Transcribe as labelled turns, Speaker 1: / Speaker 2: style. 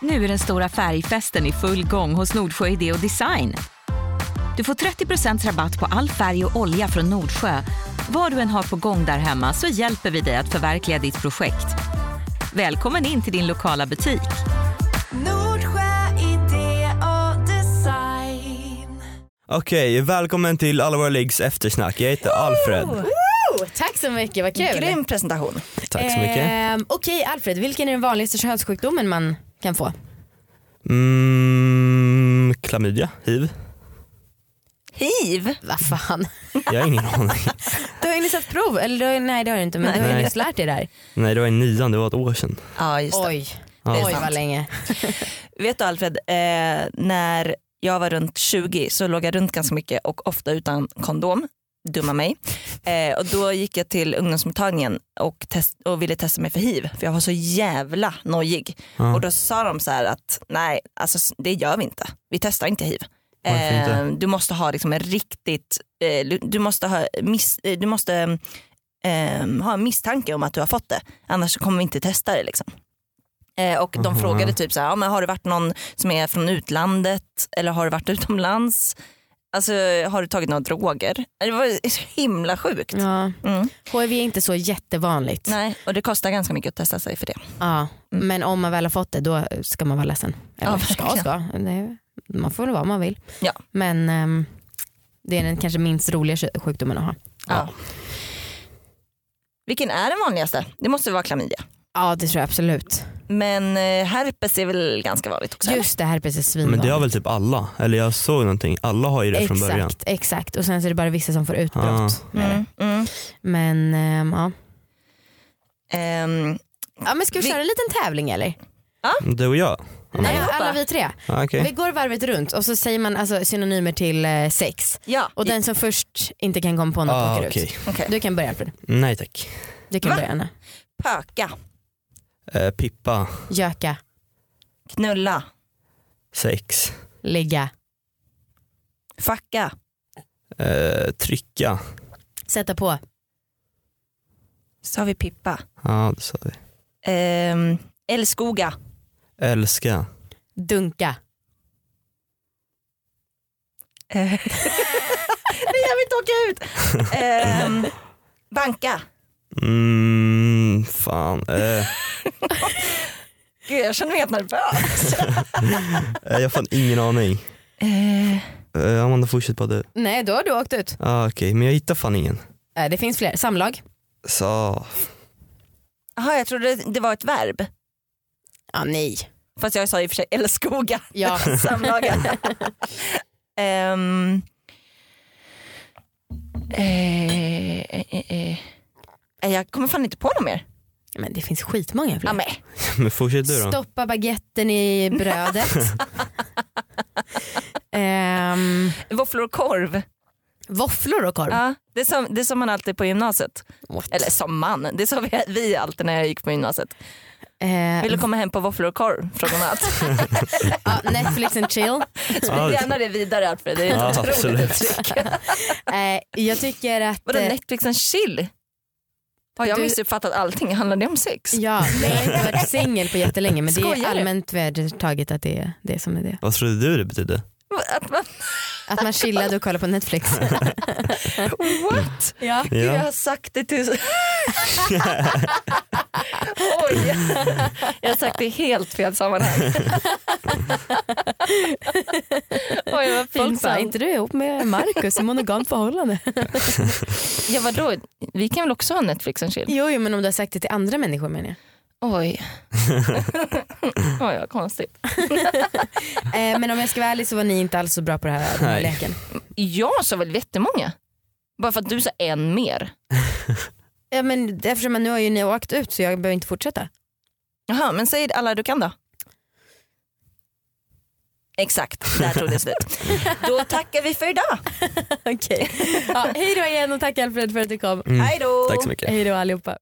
Speaker 1: Nu är den stora färgfesten i full gång hos Nordsjö Idé och Design. Du får 30 rabatt på all färg och olja från Nordsjö. Vad du än har på gång där hemma så hjälper vi dig att förverkliga ditt projekt. Välkommen in till din lokala butik.
Speaker 2: Nordsjö idé och design.
Speaker 3: Okej, välkommen till Alla Våra Liggs eftersnack. Jag heter Alfred.
Speaker 4: Oh, tack så mycket, vad kul.
Speaker 5: Grym presentation.
Speaker 3: Tack så mycket.
Speaker 4: Ehm, Okej Alfred, vilken är den vanligaste könssjukdomen man kan få? Eh.
Speaker 3: Mm, klamydia, hiv?
Speaker 5: Hiv.
Speaker 4: Vad fan.
Speaker 3: Jag har ingen aning.
Speaker 4: Du har ju nyss haft prov, eller du har, nej det har du inte men du har ju
Speaker 3: Nej.
Speaker 4: nyss lärt dig det här.
Speaker 3: Nej, det var i nian, det var ett år sedan.
Speaker 5: Ja just det.
Speaker 4: Oj,
Speaker 3: är
Speaker 4: oj
Speaker 5: sant.
Speaker 4: vad länge.
Speaker 5: Vet du Alfred, eh, när jag var runt 20 så låg jag runt ganska mycket och ofta utan kondom. Dumma mig. Eh, och då gick jag till ungdomsmottagningen och, test- och ville testa mig för hiv för jag var så jävla nojig.
Speaker 3: Ja.
Speaker 5: Och då sa de så här att nej, alltså, det gör vi inte. Vi testar inte hiv.
Speaker 3: Varför inte?
Speaker 5: Eh, du måste ha liksom en riktigt, eh, du- du måste, ha, miss, eh, du måste eh, ha en misstanke om att du har fått det. Annars så kommer vi inte testa det liksom. Eh, och de
Speaker 3: Aha.
Speaker 5: frågade typ så här, ja, men har det varit någon som är från utlandet eller har du varit utomlands? Alltså har du tagit några droger? Det var så himla sjukt.
Speaker 4: Ja.
Speaker 5: Mm.
Speaker 4: HIV är inte så jättevanligt.
Speaker 5: Nej, och det kostar ganska mycket att testa sig för det.
Speaker 4: Ja. Men om man väl har fått det då ska man vara ledsen. Eller
Speaker 5: Ja,
Speaker 4: ska
Speaker 5: verkligen.
Speaker 4: ska, det, är- man får väl vara om man vill.
Speaker 5: Ja.
Speaker 4: Men ehm, det är den kanske minst roliga kö- sjukdomen att ha.
Speaker 5: Ja. Vilken är den vanligaste? Det måste vara klamydia.
Speaker 4: Ja det tror jag absolut.
Speaker 5: Men eh, herpes är väl ganska vanligt också? eller?
Speaker 4: Just det, herpes är
Speaker 3: Men det har
Speaker 4: svinvanligt.
Speaker 3: väl typ alla, eller jag såg någonting, alla har ju det från början. Ah.
Speaker 4: Exakt, exakt. Och sen så är det bara vissa som får utbrott. med det.
Speaker 5: Mm, mm.
Speaker 4: Men ehm, ja.
Speaker 5: Ehm,
Speaker 4: Ja men ska vi,
Speaker 5: Vi-
Speaker 4: köra en liten tävling eller?
Speaker 3: Du och jag?
Speaker 4: Nej,
Speaker 5: Allihopa.
Speaker 4: alla vi tre.
Speaker 3: Ja, Okej.
Speaker 4: Vi går varvet runt och så säger man alltså, synonymer till eh, sex.
Speaker 5: ja,
Speaker 4: Och den som först inte kan komma på något
Speaker 3: Ah,
Speaker 4: åker
Speaker 3: okej.
Speaker 5: okej.
Speaker 4: ut. Du kan börja Alfred.
Speaker 3: Nej tack.
Speaker 4: Du kan
Speaker 5: Va?
Speaker 4: börja Anna.
Speaker 5: Pöka,
Speaker 3: Eh, pippa,
Speaker 4: Göka,
Speaker 5: knulla,
Speaker 3: sex,
Speaker 4: ligga,
Speaker 5: fucka,
Speaker 3: eh, trycka.
Speaker 4: sätta på,
Speaker 5: sa vi pippa,
Speaker 3: Ja, det sa vi.
Speaker 5: Ehm, älskoga,
Speaker 3: Älska.
Speaker 4: dunka.
Speaker 5: Eh, Nej jag vill inte åka ut. Ehm, banka.
Speaker 3: Mm, fan. Eh,
Speaker 5: Gud jag känner mig helt nervös.
Speaker 3: eh, jag har fan ingen aning.
Speaker 5: Eh,
Speaker 3: Eh, Amanda fortsätt bara du.
Speaker 4: Nej då har du åkt ut.
Speaker 3: Ah, Okej, men jag hittar fan ingen.
Speaker 4: Eh, det finns fler. Samlag.
Speaker 3: Så,
Speaker 5: Jaha jag trodde det var ett verb.
Speaker 4: Ja nej.
Speaker 5: Fast jag sa i och för sig älskoga.
Speaker 4: Ja.
Speaker 5: Samlaga. Ehm, eh, eh, eh, eh. Eh, Jag kommer fan inte på något mer.
Speaker 4: Men det finns skitmånga
Speaker 5: Ja,
Speaker 4: fler.
Speaker 5: men.
Speaker 3: men fortsätt du då.
Speaker 4: Stoppa baguetten i brödet. Ehm,
Speaker 5: Våfflor och korv.
Speaker 4: våfflor och korv.
Speaker 5: Ja, det, sa, det sa man alltid på gymnasiet.
Speaker 4: What?
Speaker 5: Eller som man, det sa vi, vi alltid när jag gick på gymnasiet.
Speaker 4: Eh,
Speaker 5: Vill du komma hem på våfflor och korv från någon annan?
Speaker 4: ja, ah, Netflix and chill.
Speaker 3: Ja,
Speaker 5: Sprid
Speaker 3: det-
Speaker 5: gärna det vidare Alfred, det är
Speaker 3: Ja,
Speaker 5: ett otroligt
Speaker 3: absolut.
Speaker 5: uttryck.
Speaker 4: Eh, jag tycker att...
Speaker 5: Vadå
Speaker 4: eh,
Speaker 5: Netflix and chill? Har jag
Speaker 4: Du-
Speaker 5: missuppfattat allting? Handlar det om sex?
Speaker 4: Ja, jag har inte varit singel på jättelänge men det är
Speaker 5: Skojar du?
Speaker 4: allmänt vedertaget att det är det som är det.
Speaker 3: Vad trodde du det betydde?
Speaker 5: Att man,
Speaker 4: Att man chillade och kollade på Netflix.
Speaker 5: what?
Speaker 4: ja.
Speaker 5: Gud, Jag
Speaker 3: Ja.
Speaker 5: har sagt det till... Oj, jag har sagt det i helt fel sammanhang. Oj vad
Speaker 4: Folk bara, "Är
Speaker 5: pinsamt.
Speaker 4: inte du ihop med Marcus i monogamt förhållande?
Speaker 5: Ja vadå, vi kan väl också ha Netflix and chill?
Speaker 4: jo, jo men om du har sagt det till andra människor menar jag.
Speaker 5: Oj. Oj vad konstigt.
Speaker 4: Eh, men om jag ska vara ärlig så var ni inte alls så bra på det här, den här
Speaker 3: Nej.
Speaker 4: leken.
Speaker 5: Jag sa väl jättemånga? Bara för att du sa en mer.
Speaker 4: Ja, men eftersom nu har ju ni åkt ut så jag behöver inte fortsätta.
Speaker 5: Jaha, men säg alla du kan då. Exakt, där tog det slut. Då tackar vi för idag.
Speaker 4: Okej. Ja, hej då igen och tack Alfred för att du kom.
Speaker 3: Mm.
Speaker 5: Hej då.
Speaker 3: Tack så mycket.
Speaker 4: Hej då allihopa.